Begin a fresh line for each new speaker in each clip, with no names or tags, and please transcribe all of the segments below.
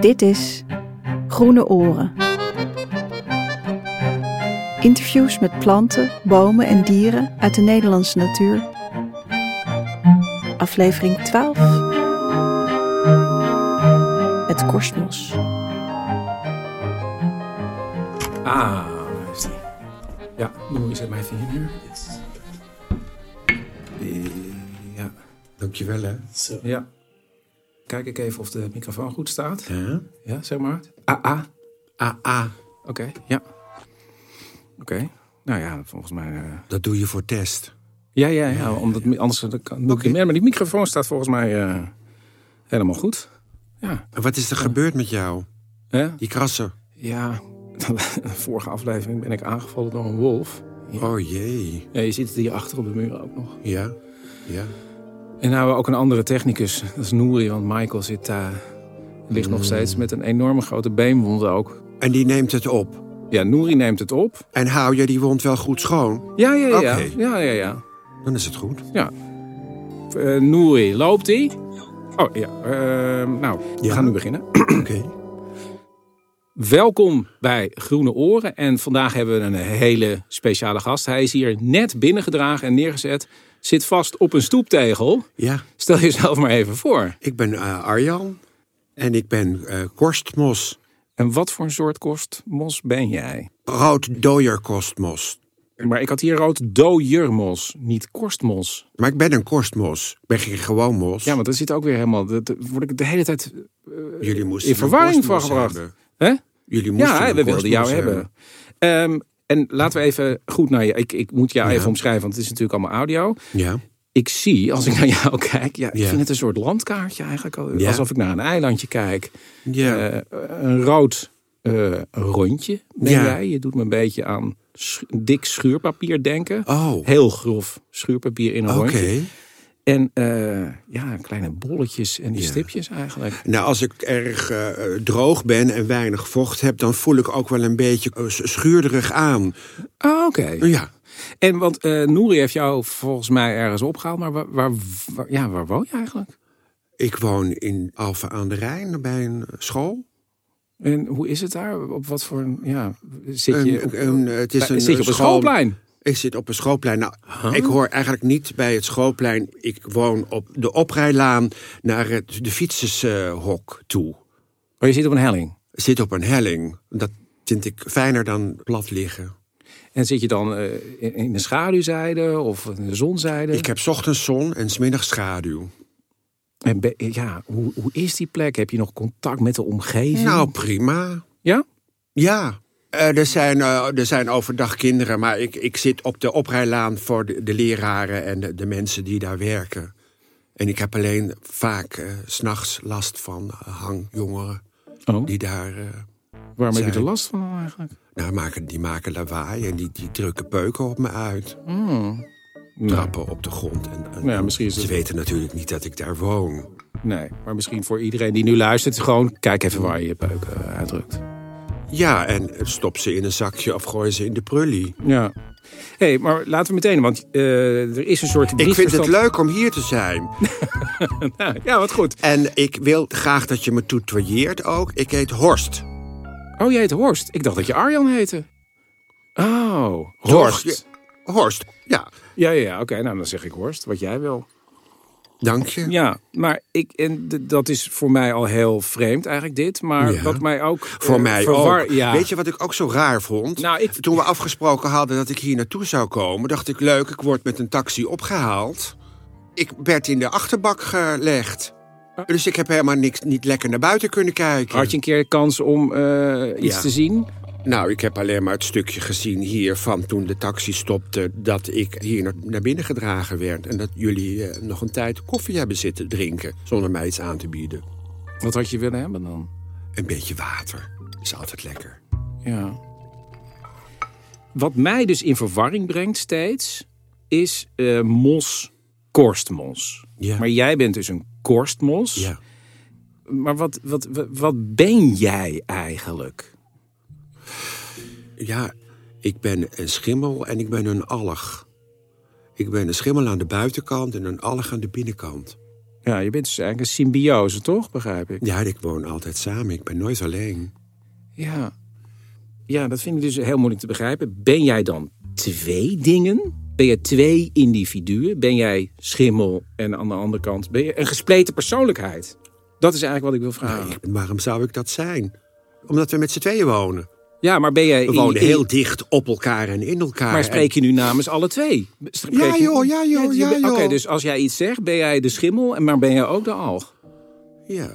Dit is Groene Oren. Interviews met planten, bomen en dieren uit de Nederlandse natuur. Aflevering 12. Het kosmos.
Ah, daar is die. Ja, nu is het mijn vinger neer. Eh, Ja,
Dankjewel, hè.
Zo.
ja. Kijk ik even of de microfoon goed staat.
Ja.
Ja, zeg maar. Ah, ah.
Ah, ah,
Oké, ja. Oké. Nou ja, volgens mij... eh,
dat doe je voor test.
Ja, ja, ja, Omdat, mi- anders dan kan doe ik niet meer. Maar die microfoon staat volgens mij eh, helemaal goed. Ja.
En wat is er gebeurd met jou?
Hè?
Die krassen.
Ja, de vorige aflevering ben ik aangevallen door een wolf.
Oh jee.
Ja, je ziet het hier achter op de muur ook nog.
Ja. Ja.
En nou hebben we ook een andere technicus. Dat is Nouri, want Michael zit, eh, ligt
Mm.
nog steeds met een enorme grote beenwond ook.
En die neemt het op.
Ja, Nouri neemt het op.
En hou je die wond wel goed schoon?
Ja, ja, ja.
Oké.
Ja, ja, ja.
Dan is het goed.
ja. Eh, Nouri, loopt hij? Oh ja, eh, nou, we
Ja.
gaan nu beginnen.
Oké.
Welkom bij Groene Oren. En vandaag hebben we een hele speciale gast. Hij is hier net binnengedragen en neergezet. Zit vast op een stoeptegel.
Ja.
Stel jezelf maar even voor.
Ik ben eh, Arjan. En ik ben eh korstmos.
En wat voor soort kostmos ben jij?
Rood dooierkorstmos.
Maar ik had hier rood dooiermos, niet korstmos.
Maar ik ben een korstmos. Ik ben geen gewoon mos.
Ja, want dat zit ook weer helemaal. Dat, dat word ik de hele tijd.
Jullie moesten
in
een
verwarring
korstmos
voorgebracht.
hebben.
Hè?
Jullie moesten
Ja,
een
we wilden jou
korstmos
hebben. Ehm, en laten we even goed naar je. Ik, ik moet jou even omschrijven, want het is natuurlijk allemaal audio.
Ja.
Ik zie, als ik naar jou kijk, ja, ik
Ja.
vind het een soort landkaartje eigenlijk. al-
Ja.
Alsof ik naar een eilandje kijk.
Ja.
Eh, een rood eh, rondje ben
Ja.
jij. Je doet me een beetje aan sch- dik schuurpapier denken.
Oh.
Heel grof schuurpapier in een
Oké.
rondje. En eh, ja, kleine bolletjes en die
Ja.
stipjes eigenlijk.
Nou, als ik erg eh, eh, droog ben en weinig vocht heb, dan voel ik ook wel een beetje eh, s- schuurderig aan. Nou
Ah, oké.
Ja,
En want eh Nouri heeft jou volgens mij ergens opgehaald, maar waar, waar, waar- ja, waar woon je eigenlijk?
ik woon in Alphen aan de Rijn bij een school.
En hoe is het daar? Op wat voor een, ja, zit je,
Een-
op,
een- eh, het is
bij- zit je op een schoolplein?
Ik zit op een schoolplein. Nou, ik hoor eigenlijk niet bij het schoolplein. Ik woon op de oprijlaan naar het, de fietsershok toe.
Oh, je zit op een helling.
Ik zit op een helling. Dat vind ik fijner dan plat liggen.
En zit je dan eh, in, in de schaduwzijde of in de zonzijde?
Ik heb 's ochtends zon en 's middags schaduw.
En be- ja, hoe, hoe is die plek? Heb je nog contact met de omgeving?
Nou, prima.
Ja?
Ja. Eh, er, zijn, eh, er zijn overdag kinderen, maar ik, ik zit op de oprijlaan voor de, de leraren en de, de mensen die daar werken. En ik heb alleen vaak eh, 's s'nachts last van eh, hangjongeren
Oh,
die daar. eh
waarom heb je er
zijn-
last van dan eigenlijk?
nou, maken, die maken lawaai en die, die drukken peuken op me uit.
Nou,
Trappen op de grond. En, en-
Ja, misschien is het-
Ze weten natuurlijk niet dat ik daar woon.
nee, maar misschien voor iedereen die nu luistert, gewoon kijk even waar je je peuk eh, uitdrukt.
Ja, en eh, stop ze in een zakje of gooi ze in de prullie.
Ja. Hé, hey, maar laten we meteen, want eh, er is een soort.
Ik vind het
misverstand-
leuk om hier te zijn.
Ja, ja, wat goed.
En ik wil graag dat je me tutoieert ook. Ik heet Horst.
Oh, jij heet Horst. Ik dacht dat je Arjan heette. Oh,
Horst.
Horst.
je- Horst, ja.
Ja, ja, ja. Oké, nou dan zeg ik Horst, wat jij wil.
Dank je.
Ja, maar ik, en d- dat is voor mij al heel vreemd eigenlijk dit. Maar
Ja.
wat mij ook. eh,
Voor mij ook.
Ja.
Weet je wat ik ook zo raar vond?
Nou, ik-
Toen we afgesproken hadden dat ik hier naartoe zou komen... dacht ik, leuk, ik word met een taxi opgehaald. Ik werd in de achterbak gelegd. Dus ik heb helemaal niks, niet lekker naar buiten kunnen kijken.
Eh? Had je een keer de kans om eh, iets
Ja.
te zien?
Nou, ik heb alleen maar het stukje gezien hier van toen de taxi stopte... dat ik hier naar- naar binnen gedragen werd. En dat jullie eh, nog een tijd koffie hebben zitten drinken... zonder mij iets aan te bieden.
Wat had je willen hebben dan?
Een beetje water is altijd lekker.
Ja. Wat mij dus in verwarring brengt steeds, is eh, mos, korstmos.
Ja.
Maar jij bent dus een korstmos. Maar wat, wat, wat, wat ben jij eigenlijk?
ja, ik ben een schimmel en ik ben een alg. Ik ben een schimmel aan de buitenkant en een alg aan de binnenkant.
Ja, je bent dus eigenlijk een symbiose, toch? Begrijp ik.
Ja, ik woon altijd samen. Ik ben nooit alleen.
Ja. Ja, dat vind ik dus heel moeilijk te begrijpen. Ben jij dan twee dingen? Ben je twee individuen? Ben jij schimmel en aan de andere kant ben je een gespleten persoonlijkheid? Dat is eigenlijk wat ik wil vragen.
Ik- Waarom zou ik dat zijn? Omdat we met z'n tweeën wonen.
ja, maar ben jij...
We
in-
wonen
in-
heel dicht op elkaar en in elkaar.
Maar spreek je nu namens alle twee? Spreek
Ja,
je-
joh, ja, joh,
je
ja,
bent- Oké,
joh.
dus als jij iets zegt, ben jij de schimmel, en maar ben jij ook de alg?
En- Ja,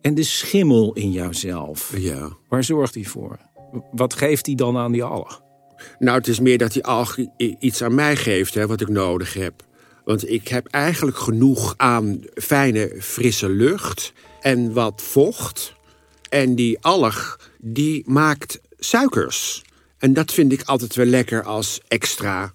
En de schimmel in jouzelf,
ja.
waar zorgt die voor? Wat geeft die dan aan die alg?
Nou, het is meer dat die alg i- iets aan mij geeft, hè, wat ik nodig heb. Want ik heb eigenlijk genoeg aan fijne, frisse lucht en wat vocht. En die alg, die maakt suikers. En dat vind ik altijd wel lekker als extra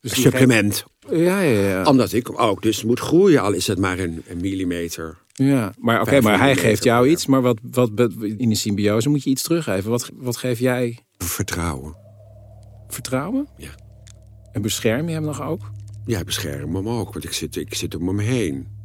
die
supplement.
Ja, ja, ja.
Omdat ik ook dus moet groeien, al is het maar een, een millimeter.
ja. Maar oké,
Vijf
maar hij
millimeter,
geeft jou
ja.
iets, maar wat, wat, wat- in de symbiose moet je iets teruggeven. Wat, wat geef jij?
Vertrouwen.
Vertrouwen?
Ja.
En bescherm je hem nog ook?
Ja, ik bescherm hem ook, want ik zit, ik zit om hem heen.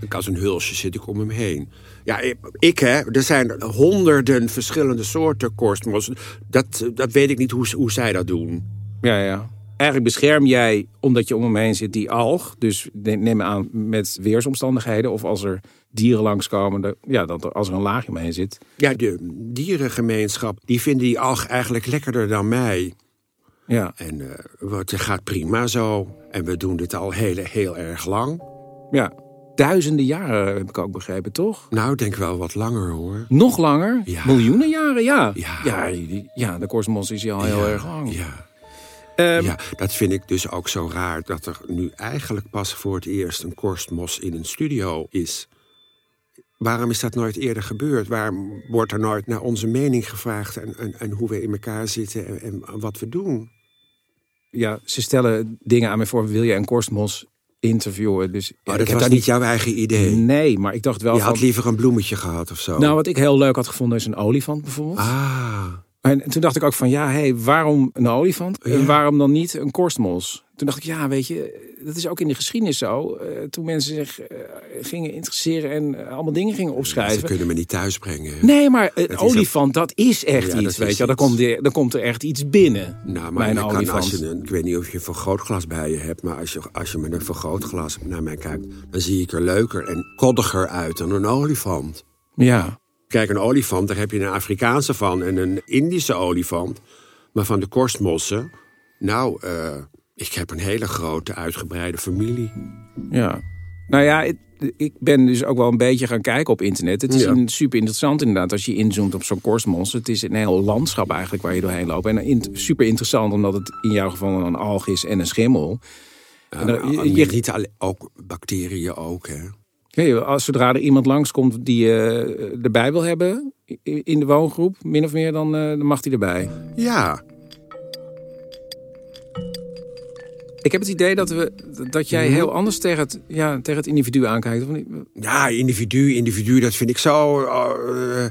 Ik als een hulsje zit ik om hem heen. Ja, ik, ik, hè, er zijn honderden verschillende soorten korstmos. Dat, dat weet ik niet hoe, ze- hoe zij dat doen.
Ja, ja. Eigenlijk bescherm jij, omdat je om hem heen zit, die alg. Dus ne- neem aan met weersomstandigheden. Of als er dieren langskomen. dan- Ja, dat er, als er een laagje omheen zit.
Ja, de dierengemeenschap, die vinden die alg eigenlijk lekkerder dan mij.
Ja,
En eh, wat het gaat prima zo. En we doen dit al heel, heel erg lang.
ja. Duizenden jaren heb ik ook begrepen, toch?
Nou, ik denk wel wat langer hoor.
Nog langer?
Ja.
Miljoenen jaren, ja.
Ja.
ja. die- ja, de kosmos is hier al heel
Ja,
erg lang.
Ja.
Ehm,
Ja, dat vind ik dus ook zo raar dat er nu eigenlijk pas voor het eerst een korstmos in een studio is. Waarom is dat nooit eerder gebeurd? Waarom wordt er nooit naar onze mening gevraagd en, en, en hoe we in elkaar zitten en, en wat we doen?
ja, ze stellen dingen aan me voor. Wil je een kosmos interviewen? Dus, ja,
Maar
ik
dat
heb
was
daar
niet jouw eigen idee.
Nee, maar ik dacht wel
Je
van...
had liever een bloemetje gehad of zo.
Nou, wat ik heel leuk had gevonden is een olifant bijvoorbeeld.
ah,
En toen dacht ik ook van, ja, hey, waarom een olifant?
Ja.
En waarom dan niet een korstmos? Toen dacht ik, ja, weet je, dat is ook in de geschiedenis zo. Eh, toen mensen zich eh, gingen interesseren en eh, allemaal dingen gingen
ze
opschrijven.
kunnen me niet thuisbrengen.
Nee, maar een
is
olifant, dat is echt
Ja,
iets,
dat
weet
is
je. wel. Dan
iets.
komt, er- dan komt er echt iets binnen,
Nou, maar
mijn
je kan als
olifant.
je een, ik weet niet of je een vergrootglas bij je hebt, maar als je, als je met een vergrootglas naar mij kijkt, dan zie ik er leuker en koddiger uit dan een olifant.
Ja,
Kijk, een olifant, daar heb je een Afrikaanse van en een Indische olifant. Maar van de korstmossen, nou, eh, ik heb een hele grote, uitgebreide familie.
ja. Nou ja, het- ik ben dus ook wel een beetje gaan kijken op internet. Het is
Ja.
een, super interessant inderdaad als je inzoomt op zo'n korstmons. Het is een heel landschap eigenlijk waar je doorheen loopt. En in- super interessant omdat het in jouw geval een alg is en een schimmel. En dan- je- je-
Je, niet alleen, ook bacteriën ook, hè?
Nee, als zodra er iemand langskomt die eh, erbij wil hebben i- in de woongroep, min of meer, dan, eh, dan mag hij erbij.
Ja,
Ik heb het idee dat, we, dat jij heel anders tegen het, ja, tegen het individu aankijkt. Of niet?
ja individu, individu, dat vind ik zo... eh,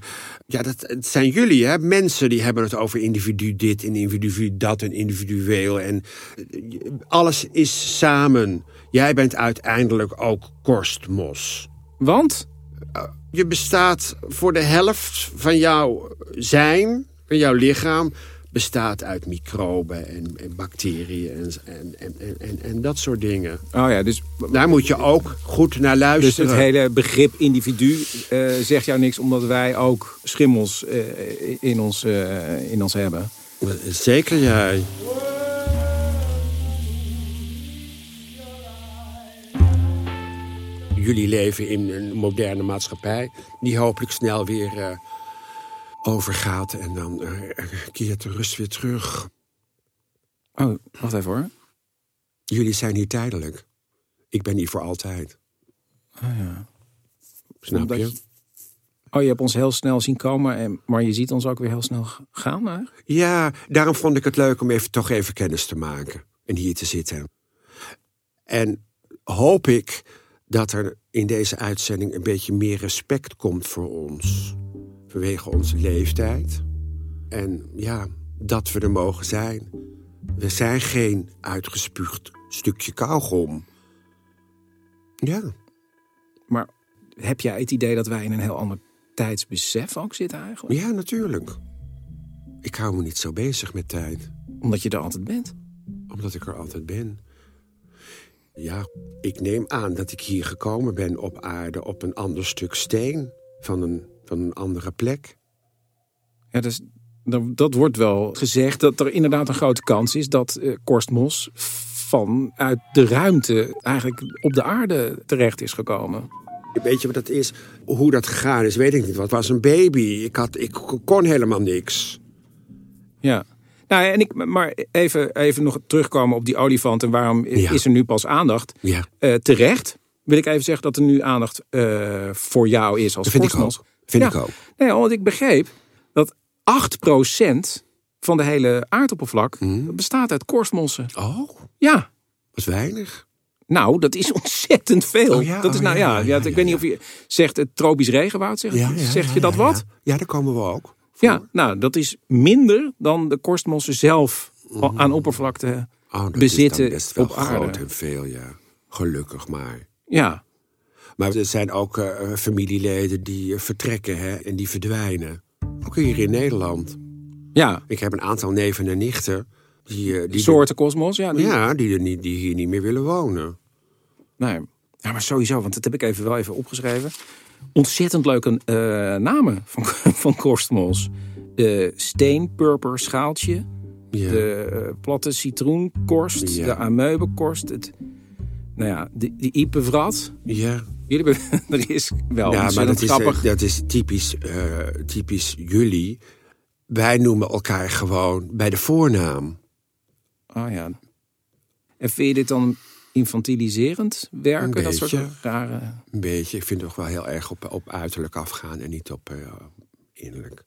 ja, dat, het zijn jullie, hè? Mensen die hebben het over individu dit en individu dat en individueel. En eh, alles is samen. Jij bent uiteindelijk ook korstmos.
Want?
Je bestaat voor de helft van jouw zijn, van jouw lichaam, bestaat uit microben en, en bacteriën en, en, en, en, en, en dat soort dingen.
Oh ja, dus,
Daar moet je ook goed naar
dus het
luisteren.
hele begrip individu eh, zegt jou niks, omdat wij ook schimmels eh, in, ons, eh, in ons hebben.
Zeker jij. Jullie leven in een moderne maatschappij die hopelijk snel weer eh, overgaat en dan eh, keert de rust weer terug.
Oh, wacht even hoor.
Jullie zijn hier tijdelijk. Ik ben hier voor altijd.
Oh ja.
Snap
Omdat
je?
je- Oh, je hebt ons heel snel zien komen, en, maar je ziet ons ook weer heel snel g- gaan. Hè?
Ja, daarom vond ik het leuk om even, toch even kennis te maken en hier te zitten. En hoop ik dat er in deze uitzending een beetje meer respect komt voor ons. Vanwege onze leeftijd. En ja, dat we er mogen zijn. We zijn geen uitgespuugd stukje kauwgom. Ja,
Maar heb jij het idee dat wij in een heel ander tijdsbesef ook zitten eigenlijk?
Ja, natuurlijk. Ik hou me niet zo bezig met tijd,
Omdat je er altijd bent.
omdat ik er altijd ben. Ja, ik neem aan dat ik hier gekomen ben op aarde op een ander stuk steen van een, van een andere plek.
Ja, dus, dat, dat wordt wel gezegd dat er inderdaad een grote kans is dat eh, Korstmos vanuit de ruimte eigenlijk op de aarde terecht is gekomen.
Weet je wat dat is? Hoe dat gegaan is, weet ik niet. Wat was een baby? Ik, had, ik kon helemaal niks.
Ja. Nou, ja, en ik, maar even, even nog terugkomen op die olifant en waarom i-
Ja.
is er nu pas aandacht?
Ja,
Eh, terecht wil ik even zeggen dat er nu aandacht eh, voor jou is als
dat vind ik
Korstmos.
ook. Vind
Ja.
ik ook.
Nee, want ik begreep dat 8% van de hele aardoppervlak
Hmm.
bestaat uit korstmossen.
Oh,
Ja,
wat weinig.
nou, dat is ontzettend veel.
Oh ja,
dat is
oh
nou
ja,
ja,
ja,
ja,
ja,
ik
ja,
weet niet of je zegt het tropisch regenwoud, zeg, zegt je dat
ja,
wat?
Ja. ja, daar komen we ook.
Ja. nou, dat is minder dan de korstmossen zelf al
Mm.
aan oppervlakte.
Oh, dat
Bezitten
is dan best wel
op aarde.
groot en veel, ja. Gelukkig maar.
Ja,
Maar er zijn ook eh, familieleden die eh, vertrekken hè, en die verdwijnen. Ook hier in Nederland.
ja.
Ik heb een aantal neven en nichten die, eh, die,
Soorten kosmos, ja. die-
ja, die, er niet, die hier niet meer willen wonen.
Nee. Ja, maar sowieso, want dat heb ik even wel even opgeschreven. Ontzettend leuke eh, namen van, van korstmols. De steenpurper schaaltje,
Ja.
de eh, platte citroenkorst,
Ja.
de ameubekorst, het, nou ja, de, de iepenvrat.
ja.
Jullie hebben, dat is wel
Ja, maar
Oh, ontzettend
dat is, eh,
grappig.
dat is typisch, eh, typisch jullie. Wij noemen elkaar gewoon bij de voornaam.
Ah ja. En vind je dit dan infantiliserend werken?
Een
Dat soort
beetje.
rare...
Een beetje. Ik vind het toch wel heel erg op, op uiterlijk afgaan en niet op eh, innerlijk.
Daar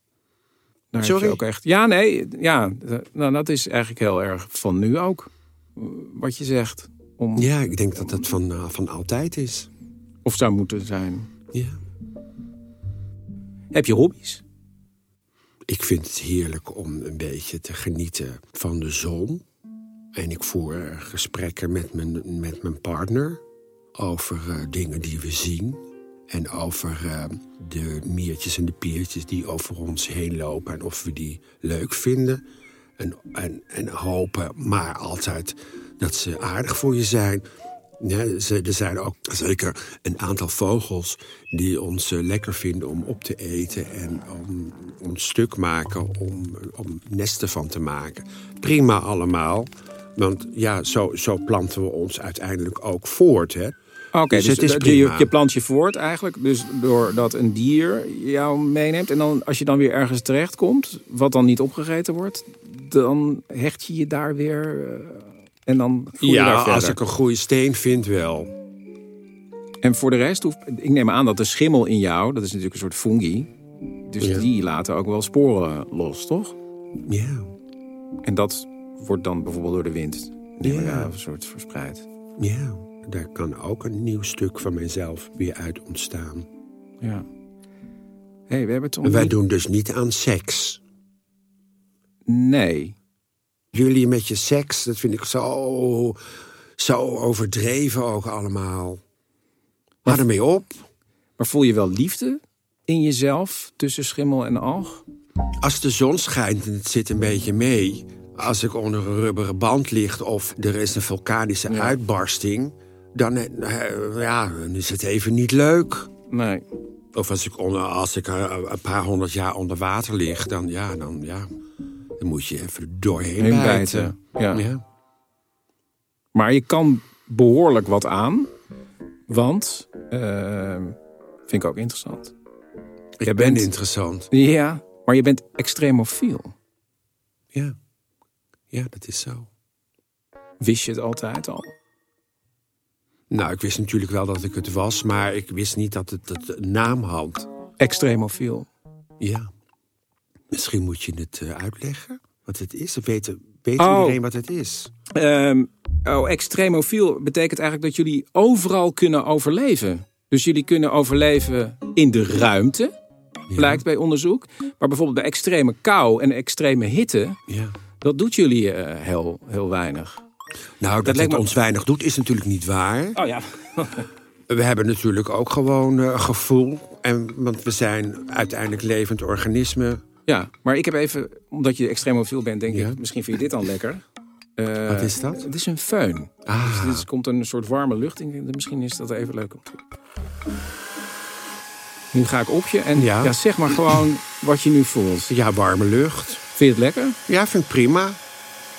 heb
Sorry?
je ook echt. Ja, nee, ja, eh, nou, dat is eigenlijk heel erg van nu ook. eh, Wat je zegt. Om,
Ja, ik denk dat dat van, eh, van altijd is.
Of zou moeten zijn.
Ja.
Heb je hobby's?
Ik vind het heerlijk om een beetje te genieten van de zon. En ik voer eh, gesprekken met mijn, met mijn partner over eh, dingen die we zien. En over eh, de miertjes en de piertjes die over ons heen lopen. En of we die leuk vinden. En, en, en hopen, maar altijd dat ze aardig voor je zijn. Ja, ze, er zijn ook zeker een aantal vogels die ons eh, lekker vinden om op te eten en om, om stuk maken, om, om nesten van te maken. Prima allemaal, want ja, zo, zo planten we ons uiteindelijk ook voort. Hè?
Oké,
Dus
dus,
het is
dat- je,
prima.
je plant je voort eigenlijk. Dus doordat een dier jou meeneemt. En dan, als je dan weer ergens terechtkomt, wat dan niet opgegeten wordt, dan hecht je je daar weer. eh, en dan groei je daar
Ja,
verder.
als ik een goede steen vind wel.
En voor de rest hoeft... Ik neem aan dat de schimmel in jou, dat is natuurlijk een soort fungi... Dus
Ja.
die laten ook wel sporen los, toch?
Ja,
En dat wordt dan bijvoorbeeld door de wind... neem ik
Ja.
aan, een soort verspreid.
ja. Daar kan ook een nieuw stuk van mezelf weer uit ontstaan.
Ja. Hé, hey, we hebben het om...
En wij doen dus niet aan seks.
Nee.
Jullie met je seks, dat vind ik zo, zo overdreven ook allemaal. Hou ermee op.
Maar voel je wel liefde in jezelf tussen schimmel en alg?
Als de zon schijnt en het zit een beetje mee... als ik onder een rubberen band ligt of er is een vulkanische uitbarsting... Dan, eh, ja, dan is het even niet leuk.
Nee.
Of als ik, onder, als ik eh, een paar honderd jaar onder water lig, dan, ja, dan, ja, dan moet je even er doorheen
Heen
bijten.
bijten, ja.
Ja.
Maar je kan behoorlijk wat aan. Want... eh, vind ik ook interessant.
Ik
Jij
ben
bent-
interessant.
Ja. Maar je bent extremofiel.
Ja. ja, dat is zo.
Wist je het altijd al?
Nou, ik wist natuurlijk wel dat ik het was, maar ik wist niet dat het, dat een naam had.
Extremofiel.
Ja. Misschien moet je het eh, uitleggen wat het is. Of weet, weet
Oh.
iedereen wat het is?
Ehm, oh, extremofiel betekent eigenlijk dat jullie overal kunnen overleven. Dus jullie kunnen overleven in de ruimte, blijkt bij onderzoek. Maar bijvoorbeeld bij extreme kou en extreme hitte,
Ja.
dat doet jullie eh, heel, heel weinig.
Nou, dat,
lijkt
het
me-
ons weinig doet, is natuurlijk niet waar.
Oh ja.
We hebben natuurlijk ook gewoon eh, gevoel. En, want we zijn uiteindelijk levend organismen.
Ja, maar ik heb even, omdat je extremofiel bent, denk
Ja.
ik, misschien vind je dit dan lekker. Eh,
Wat is dat?
Het is een föhn.
Ah.
Dus er komt een soort warme lucht in. Misschien is dat even leuk. om te- Nu ga ik op je en ja.
Ja.
zeg maar gewoon wat je nu voelt.
Ja, warme lucht.
Vind je het lekker?
Ja, vind ik prima.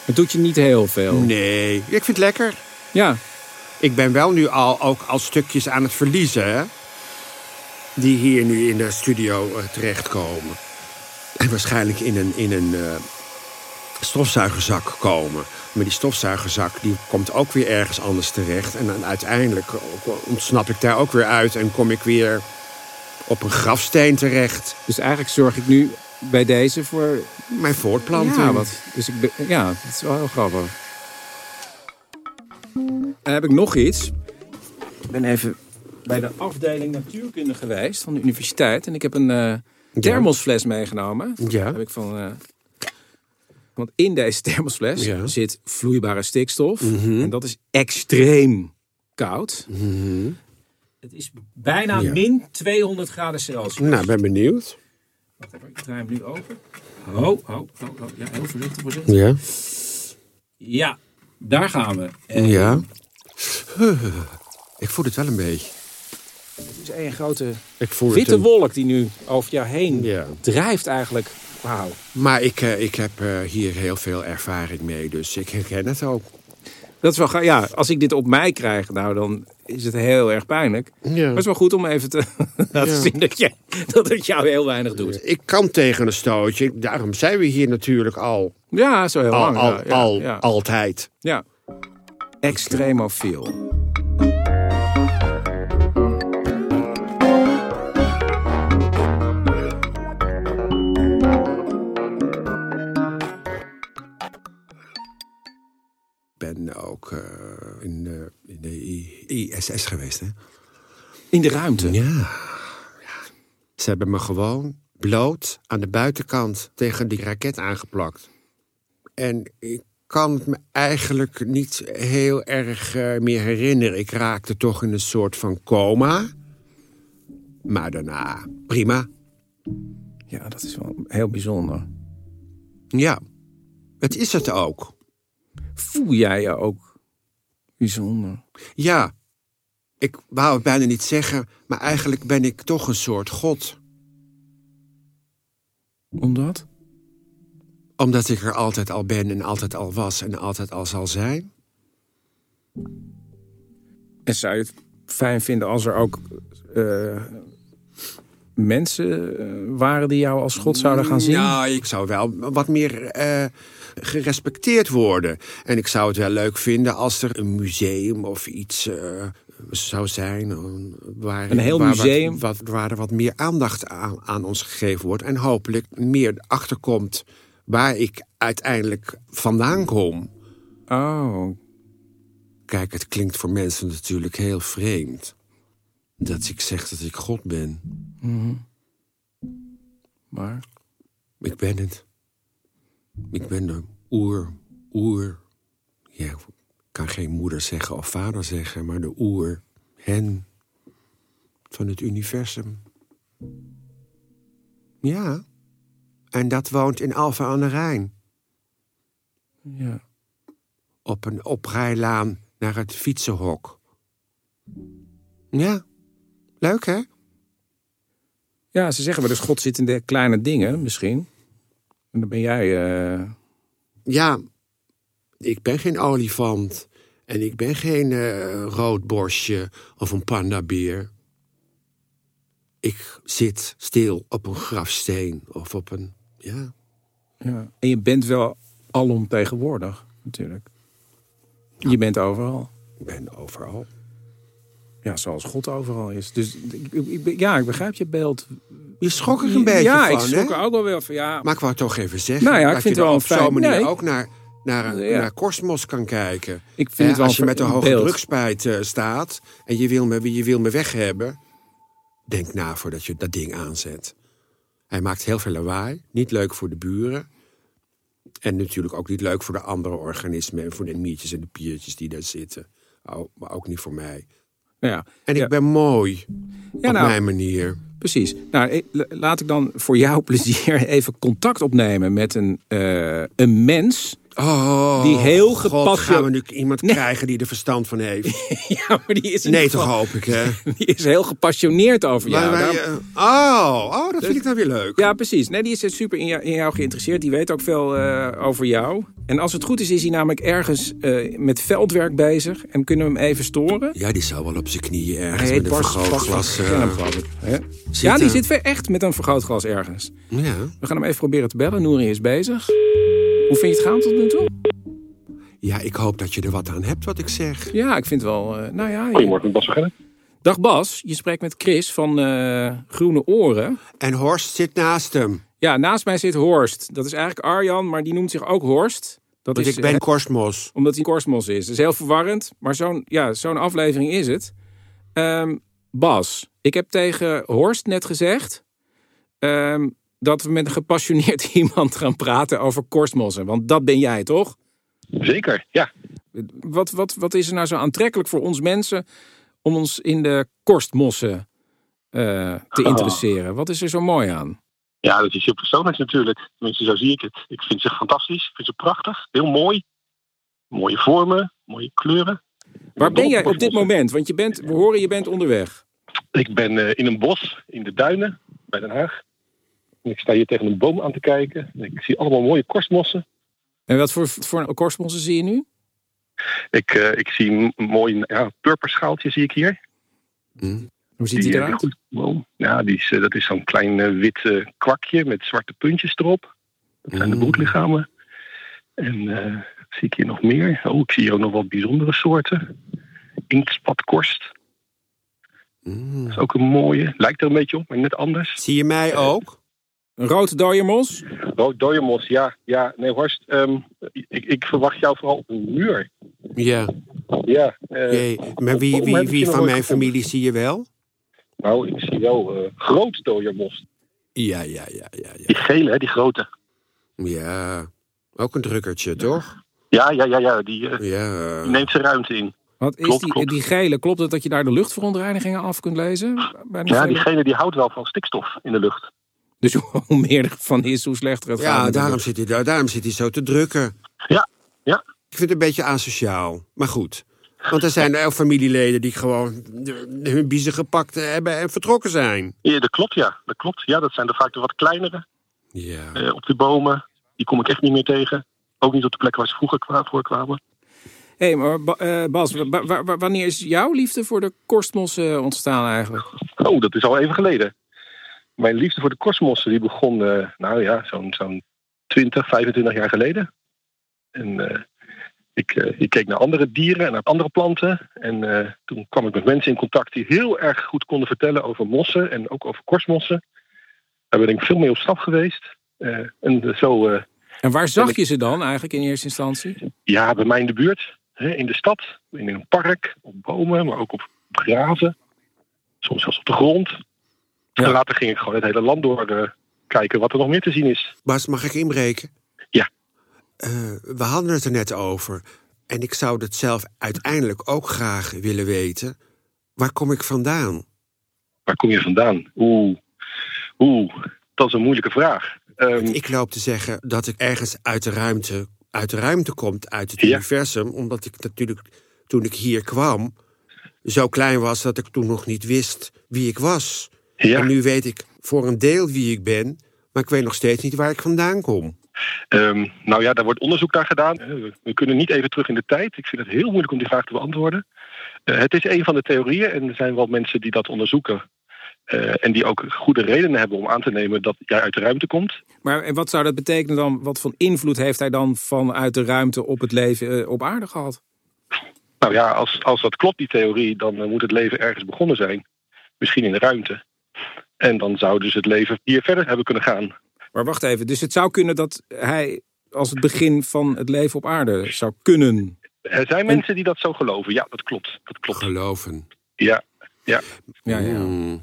Het doet je niet heel veel.
Nee, ik vind het lekker.
Ja,
Ik ben wel nu al, ook al stukjes aan het verliezen, hè? Die hier nu in de studio eh, terechtkomen. En waarschijnlijk in een, in een eh, stofzuigerzak komen. Maar die stofzuigerzak die komt ook weer ergens anders terecht. En dan uiteindelijk eh, ontsnap ik daar ook weer uit en kom ik weer op een grafsteen terecht.
dus eigenlijk zorg ik nu bij deze voor...
Mijn voortplanting.
Ja, wat, dus ik ben- ja, dat is wel heel grappig. Dan heb ik nog iets. Ik ben even bij de afdeling natuurkunde geweest van de universiteit. En ik heb een eh thermosfles meegenomen.
Ja.
Heb ik van, eh, want in deze thermosfles
Ja. Mhm.
zit vloeibare stikstof. En dat is extreem koud. Het is bijna
Mhm. Ja.
min 200 graden Celsius.
Nou, ben benieuwd.
Wacht even, ik draai hem nu open. Ho, ho, ho, ho. Ja, heel voorzichtig, voorzichtig.
Ja.
Ja, daar gaan we. En
Ja. Ik voel het wel een beetje.
Het is een grote
Ik voel
witte wolk die nu over jou heen
Ja.
drijft eigenlijk. Wauw.
Maar ik, eh, ik heb eh, hier heel veel ervaring mee, dus ik herken het ook.
Dat is wel ga- Ja, als ik dit op mij krijg, nou dan is het heel erg pijnlijk. Maar het is wel goed om even te laten
Ja.
zien dat, je, dat het jou heel weinig doet.
Ik kan tegen een stootje, daarom zijn we hier natuurlijk al,
Ja, zo heel
al,
lang.
al,
ja, ja,
al-
ja.
altijd.
Ja. Extremofiel.
Ik ben ook eh, in, eh, in de I- ISS geweest, hè?
In de ruimte.
Ja. Ze hebben me gewoon bloot aan de buitenkant tegen die raket aangeplakt. En ik kan het me eigenlijk niet heel erg eh, meer herinneren. Ik raakte toch in een soort van coma. Maar daarna prima.
Ja, dat is wel heel bijzonder.
Ja, het is het ook.
Voel jij je ook bijzonder?
Ja, ik wou het bijna niet zeggen, maar eigenlijk ben ik toch een soort god.
Omdat?
Omdat ik er altijd al ben en altijd al was en altijd al zal zijn.
En zou je het fijn vinden als er ook eh, mensen eh, waren die jou als God zouden gaan zien?
Nou, ik zou wel wat meer eh, gerespecteerd worden. En ik zou het wel leuk vinden als er een museum of iets eh, zou zijn. eh, Waar,
Een heel
waar wat-
museum?
Wat, waar er wat meer aandacht aan, aan ons gegeven wordt. En hopelijk meer achterkomt waar ik uiteindelijk vandaan kom.
Oh,
Kijk, het klinkt voor mensen natuurlijk heel vreemd. Dat ik zeg dat ik God ben.
maar
Ik ben het. Ik ben de oer, oer. Ja, ik kan geen moeder zeggen of vader zeggen, maar de oer, hen van het universum. Ja, en dat woont in Alphen aan de Rijn.
ja.
Op een oprijlaan naar het fietsenhok. Ja, leuk hè?
Ja, ze zeggen wel dus God zit in de kleine dingen misschien. En dan ben jij... eh,
Ja, ik ben geen olifant. En ik ben geen eh roodborstje of een pandabeer. Ik zit stil op een grafsteen of op een... Ja,
ja. En je bent wel alomtegenwoordig natuurlijk. Je bent overal.
ik ben overal.
Ja, zoals God overal is. Dus ik- ik- ik- ja, ik begrijp je beeld.
Je schrok er een beetje
ja,
van,
ik schrok
hè?
er ook wel weer van. Ja,
Maar ik wou het toch even zeggen.
Nou ja, ik
dat
vind
je
het wel
op
een
zo'n
fijn-
manier
nee.
ook naar... Naar,
Ja.
naar kosmos kan kijken.
Ik vind
Hè,
het wel
Als je
een
met een
fijn
hoge
beeld.
drugspijt eh, staat en je wil, me, je wil me weg hebben, denk na voordat je dat ding aanzet. Hij maakt heel veel lawaai, niet leuk voor de buren. En natuurlijk ook niet leuk voor de andere organismen en voor de miertjes en de piertjes die daar zitten. Au, maar ook Oh, niet voor mij.
Ja,
En ik
Ja.
ben mooi. op
nou.
mijn manier.
Precies. Nou, eh, la- laat ik dan voor jouw plezier even contact opnemen met een, eh, een mens.
Oh,
Die heel
God,
gepassie-
gaan we nu iemand krijgen die er verstand van heeft?
ja, maar die is, in
Nee,
ieder
toch
geval-
hoop ik, hè?
Die is heel gepassioneerd over jou.
Maar wij,
Daarom- Dus-
eh, oh, oh, dat vind ik dan weer leuk.
Ja, precies. Nee, die is super in jou, in jou geïnteresseerd. Die weet ook veel eh, over jou. En als het goed is, is hij namelijk ergens eh, met veldwerk bezig. En kunnen we hem even storen.
Ja, die zou wel op zijn knieën ergens
Hij heet
met een
Bas
vergrootglas...
Bas-
eh,
Ken hem, geloof ik. Hè? Ja, die
er.
zit weer echt met een vergrootglas ergens.
ja.
We gaan hem even proberen te bellen. Nouri is bezig. Hoe vind je het gaan tot nu toe?
ja, ik hoop dat je er wat aan hebt wat ik zeg.
Ja, ik vind wel... eh, nou ja, je-
Goedemorgen, Bas van Gennep.
Dag Bas, je spreekt met Chris van eh, Groene Oren.
En Horst zit naast hem.
Ja, naast mij zit Horst. Dat is eigenlijk Arjan, maar die noemt zich ook Horst. Dat
Want
is,
Dus ik ben
eh,
Kosmos.
omdat hij Korsmos is. Dat is heel verwarrend, maar zo'n ja, zo'n aflevering is het. Ehm, Bas, ik heb tegen Horst net gezegd... ehm, dat we met een gepassioneerd iemand gaan praten over korstmossen. Want dat ben jij, toch?
Zeker, ja.
Wat, wat, wat is er nou zo aantrekkelijk voor ons mensen om ons in de korstmossen eh, te
Ah.
interesseren? Wat is er zo mooi aan?
Ja, dat is heel persoonlijk natuurlijk. Tenminste, zo zie ik het. Ik vind ze fantastisch. Ik vind ze prachtig. Heel mooi. Mooie vormen, mooie kleuren. Ik
Waar ben
dol
jij op dit
bosbossen.
moment? Want je bent, we horen je bent onderweg.
Ik ben eh, in een bos, in de duinen, bij Den Haag. En ik sta hier tegen een boom aan te kijken. En ik zie allemaal mooie korstmossen.
En wat voor, voor korstmossen zie je nu?
Ik, eh, ik zie een mooi ja, purperschaaltje zie ik hier.
Hoe ziet die
eh,
eruit?
goed- wow. Ja, die is, eh, dat is zo'n klein eh, wit eh, kwakje met zwarte puntjes erop. Dat zijn
Mm.
de broedlichamen. En eh, wat zie ik hier nog meer? Oh, ik zie hier ook nog wat bijzondere soorten. Inktspatkorst,
Mm.
dat is ook een mooie. Lijkt er een beetje op, maar net anders.
Zie je mij
Eh,
ook?
Een rode dooiermos?
Rood dooiermos, ja. ja. Nee, Horst, ehm, ik, ik verwacht jou vooral op een muur.
Ja.
Ja, eh,
Jee, Maar wie,
Oh,
Hoe heb
wie,
ik
wie
je
van
nou
mijn
ooit
familie zie je wel?
nou, ik zie wel eh, groot dooiermos.
Ja, ja, ja, ja, ja.
Die gele, hè, die grote.
Ja, ook een drukkertje, toch?
Ja, ja, ja, ja. Die, eh,
Ja.
die neemt zijn ruimte in.
Wat is
Klopt,
die,
klopt.
die gele? Klopt het dat je daar de luchtverontreinigingen af kunt lezen? Bij die
Ja,
gele?
die gele die houdt wel van stikstof in de lucht.
Dus hoe meer ervan is, hoe slechter het gaat.
Ja,
natuurlijk.
daarom zit, hij, daar- daarom zit hij zo te drukken.
Ja, ja.
Ik vind het een beetje asociaal, maar goed. Want er zijn er familieleden die gewoon hun biezen gepakt hebben en vertrokken zijn.
Ja, dat klopt, ja. Dat klopt. Ja, dat zijn er vaak de wat kleinere
Ja.
eh, op de bomen. Die kom ik echt niet meer tegen. Ook niet op de plekken waar ze vroeger kwa- voorkwamen.
Hé, maar Ba- eh, Bas, wa- wa- wa- wanneer is jouw liefde voor de korstmossen ontstaan eigenlijk?
Oh, dat is al even geleden. Mijn liefde voor de kosmossen die begon, eh, nou ja, zo'n zo'n 20, 25 jaar geleden. En eh, ik, eh, ik keek naar andere dieren en naar andere planten. En eh, toen kwam ik met mensen in contact die heel erg goed konden vertellen over mossen en ook over korstmossen. Daar ben ik veel mee op stap geweest. Eh, en zo eh,
En waar zag je ze dan eigenlijk in eerste instantie?
Ja, bij mij in de buurt. Hè, in de stad, in een park, op bomen, maar ook op graven. Soms zelfs op de grond.
Ja.
En later ging ik gewoon het hele land door eh, kijken wat er nog meer te zien is.
Bas, mag ik inbreken?
Ja.
Eh, we hadden het er net over. En ik zou dat zelf uiteindelijk ook graag willen weten. Waar kom ik vandaan?
Waar kom je vandaan? Oeh, oeh, dat is een moeilijke vraag. Ehm,
Ik loop te zeggen dat ik ergens uit de ruimte, uit de ruimte komt, uit het
Ja.
universum. Omdat ik natuurlijk, toen ik hier kwam, zo klein was dat ik toen nog niet wist wie ik was.
ja,
En nu weet ik voor een deel wie ik ben, maar ik weet nog steeds niet waar ik vandaan kom.
ehm, nou ja, daar wordt onderzoek naar gedaan. Eh, we- We kunnen niet even terug in de tijd. Ik vind het heel moeilijk om die vraag te beantwoorden. Eh, het is een van de theorieën en er zijn wel mensen die dat onderzoeken. Eh, en die ook goede redenen hebben om aan te nemen dat jij uit de ruimte komt.
Maar en wat zou dat betekenen dan? Wat voor invloed heeft hij dan vanuit de ruimte op het leven eh, op aarde gehad?
Nou ja, als, als dat klopt, die theorie, dan eh, moet het leven ergens begonnen zijn. Misschien in de ruimte. En dan zou dus het leven hier verder hebben kunnen gaan.
Maar wacht even, dus het zou kunnen dat hij als het begin van het leven op aarde zou kunnen.
Er zijn mensen die dat zo geloven. Ja, dat klopt. Dat klopt.
Geloven.
Ja, ja.
Ja, ja.
Hmm.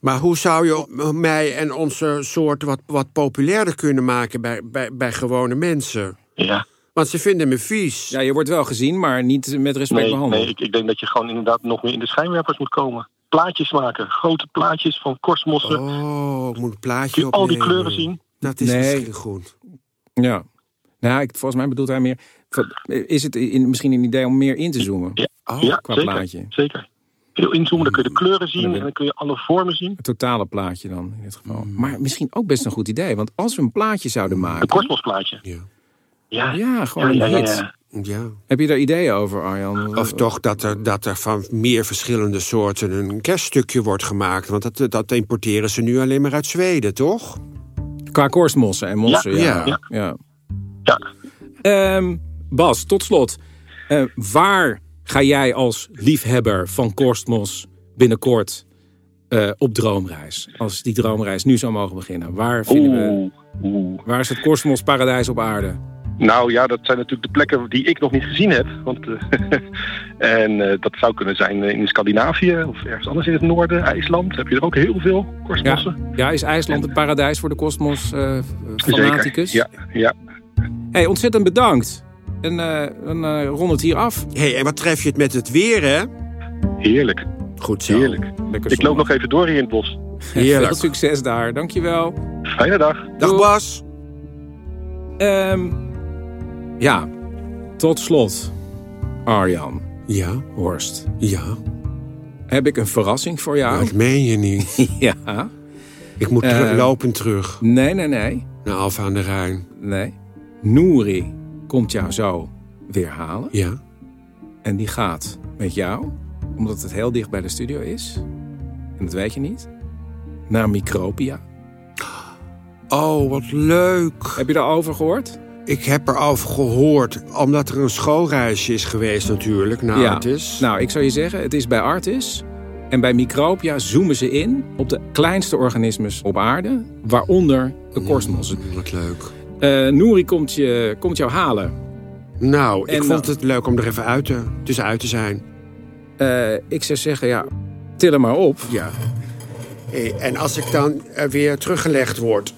Maar hoe zou je mij en onze soort wat, wat populairder kunnen maken bij, bij, bij gewone mensen?
ja.
Want ze vinden me vies.
Ja, je wordt wel gezien, maar niet met respect
nee,
behandeld.
Nee, ik, ik denk dat je gewoon inderdaad nog meer in de schijnwerpers moet komen. Plaatjes maken, grote plaatjes van korstmossen.
Oh, ik moet een
Kun
plaatje
je
opnemen.
al die kleuren zien?
Dat is
Nee.
misschien goed.
Ja. Nou, ik, volgens mij bedoelt hij meer... Is het in, misschien een idee om meer in te zoomen?
Ja.
Oh,
ja,
qua
zeker.
plaatje.
Zeker. Heel inzoomen, dan kun je de kleuren zien
Hmm.
en dan kun je alle vormen zien.
Het totale plaatje dan, in dit geval. Maar misschien ook best een goed idee. Want als we een plaatje zouden
Een
maken...
korstmosplaatje.
Ja.
Ja,
Ja, gewoon een hit.
ja.
Heb je daar ideeën over, Arjan?
Of toch dat er, dat er van meer verschillende soorten een kerststukje wordt gemaakt. Want dat, dat importeren ze nu alleen maar uit Zweden, toch?
Qua korstmossen en mossen, ja.
Ja,
ja.
ja.
Ja.
Ehm, Bas, tot slot. Eh, waar ga jij als liefhebber van korstmos binnenkort eh, op droomreis? Als die droomreis nu zou mogen beginnen. Waar vinden we...
Oeh, oeh.
Waar is het korstmosparadijs op aarde?
Nou ja, dat zijn natuurlijk de plekken die ik nog niet gezien heb. Want, eh, en eh, dat zou kunnen zijn eh, in Scandinavië of ergens anders in het noorden, IJsland. Heb je er ook heel veel korstmossen?
Ja, is IJsland het paradijs voor de kosmos-fanaticus?
Zeker. Ja, ja.
Hey, ontzettend bedankt. En eh, dan eh rond het hier af.
Hé, hey, en wat tref je het met het weer, hè?
Heerlijk,
Goed zo.
heerlijk.
Lekker
Ik loop
zonnig.
nog even door hier in het bos.
Veel
Heerlijk.
succes daar, dankjewel.
Fijne dag.
Dag
Doeg.
Bas.
Ehm ja, tot slot. Arjan
Ja,
Horst,
ja.
heb ik een verrassing voor jou?
Dat meen je niet.
ja.
Ik moet
Eh.
ter- lopen terug
Nee, nee, nee.
naar Alfa aan de Rijn.
Nee. Nouri komt jou zo weer halen.
Ja.
En die gaat met jou, omdat het heel dicht bij de studio is, en dat weet je niet, naar Micropia.
Oh, wat leuk.
Heb je daarover gehoord?
Ik heb erover gehoord, omdat er een schoolreisje is geweest natuurlijk, naar het is.
Nou, ik zou je zeggen, het is bij Artis. En bij Micropia zoomen ze in op de kleinste organismes op aarde, waaronder de korstmossen.
Wat leuk.
Eh Nouri komt, je, komt jou halen.
Nou, ik
En,
vond
eh,
het leuk om er even uit te, tussenuit te zijn.
Eh, ik zou zeggen, ja, til hem maar op.
Ja. Eh, En als ik dan eh, weer teruggelegd word...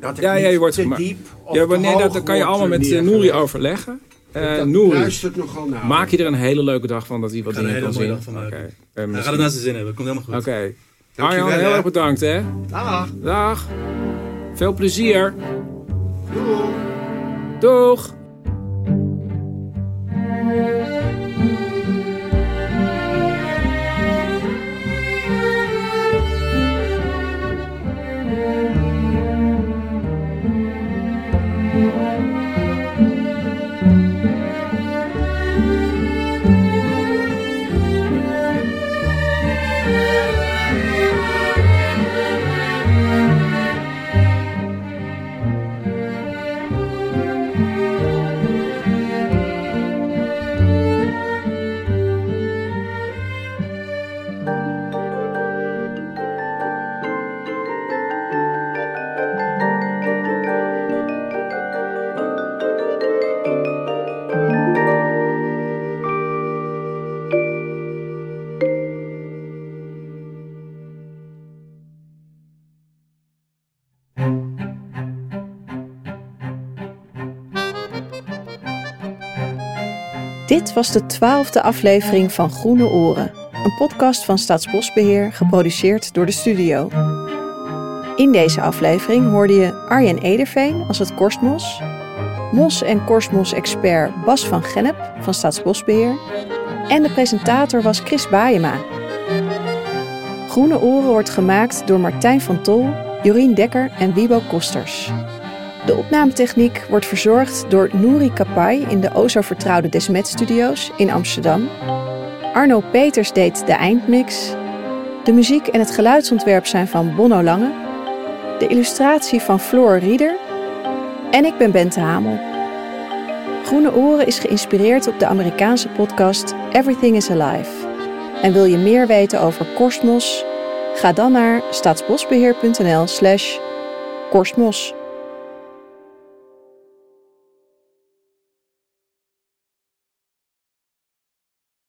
Dat ik
Ja, ja,
niet
je wordt
te
gemaakt.
diep of
Ja,
te
maar nee,
hoog
dat, dat kan je
word
allemaal met eh,
neergelegd.
Nouri overleggen. Eh
Dat
Nouri,
luistert nogal naar.
maak je er een hele leuke dag van dat hij wat
Ik ga er
dingen
een
kan
hele
zien.
mooie dag van maken.
Oké. Eh,
Hij
misschien-
gaat het naar zijn zin hebben. Komt helemaal goed.
Oké.
Dankjewel,
Arjan, heel
hè.
erg bedankt, hè.
Dag.
Dag. Veel plezier. Doeg.
Dit was de twaalfde aflevering van Groene Oren, een podcast van Staatsbosbeheer geproduceerd door de studio. In deze aflevering hoorde je Arjen Ederveen als het korstmos, mos- en korstmos-expert Bas van Gennep van Staatsbosbeheer en de presentator was Chris Baayema. Groene Oren wordt gemaakt door Martijn van Tol, Jorien Dekker en Wiebo Kosters. De opnametechniek wordt verzorgd door Nouri Kapai in de o zo vertrouwde Desmet Studios in Amsterdam. Arno Peters deed de eindmix. De muziek en het geluidsontwerp zijn van Bonno Lange. De illustratie van Floor Rieder. En ik ben Bente Hamel. Groene Oren is geïnspireerd op de Amerikaanse podcast Everything is Alive. En wil je meer weten over Korstmos? Ga dan naar staatsbosbeheer.nl slash korstmos.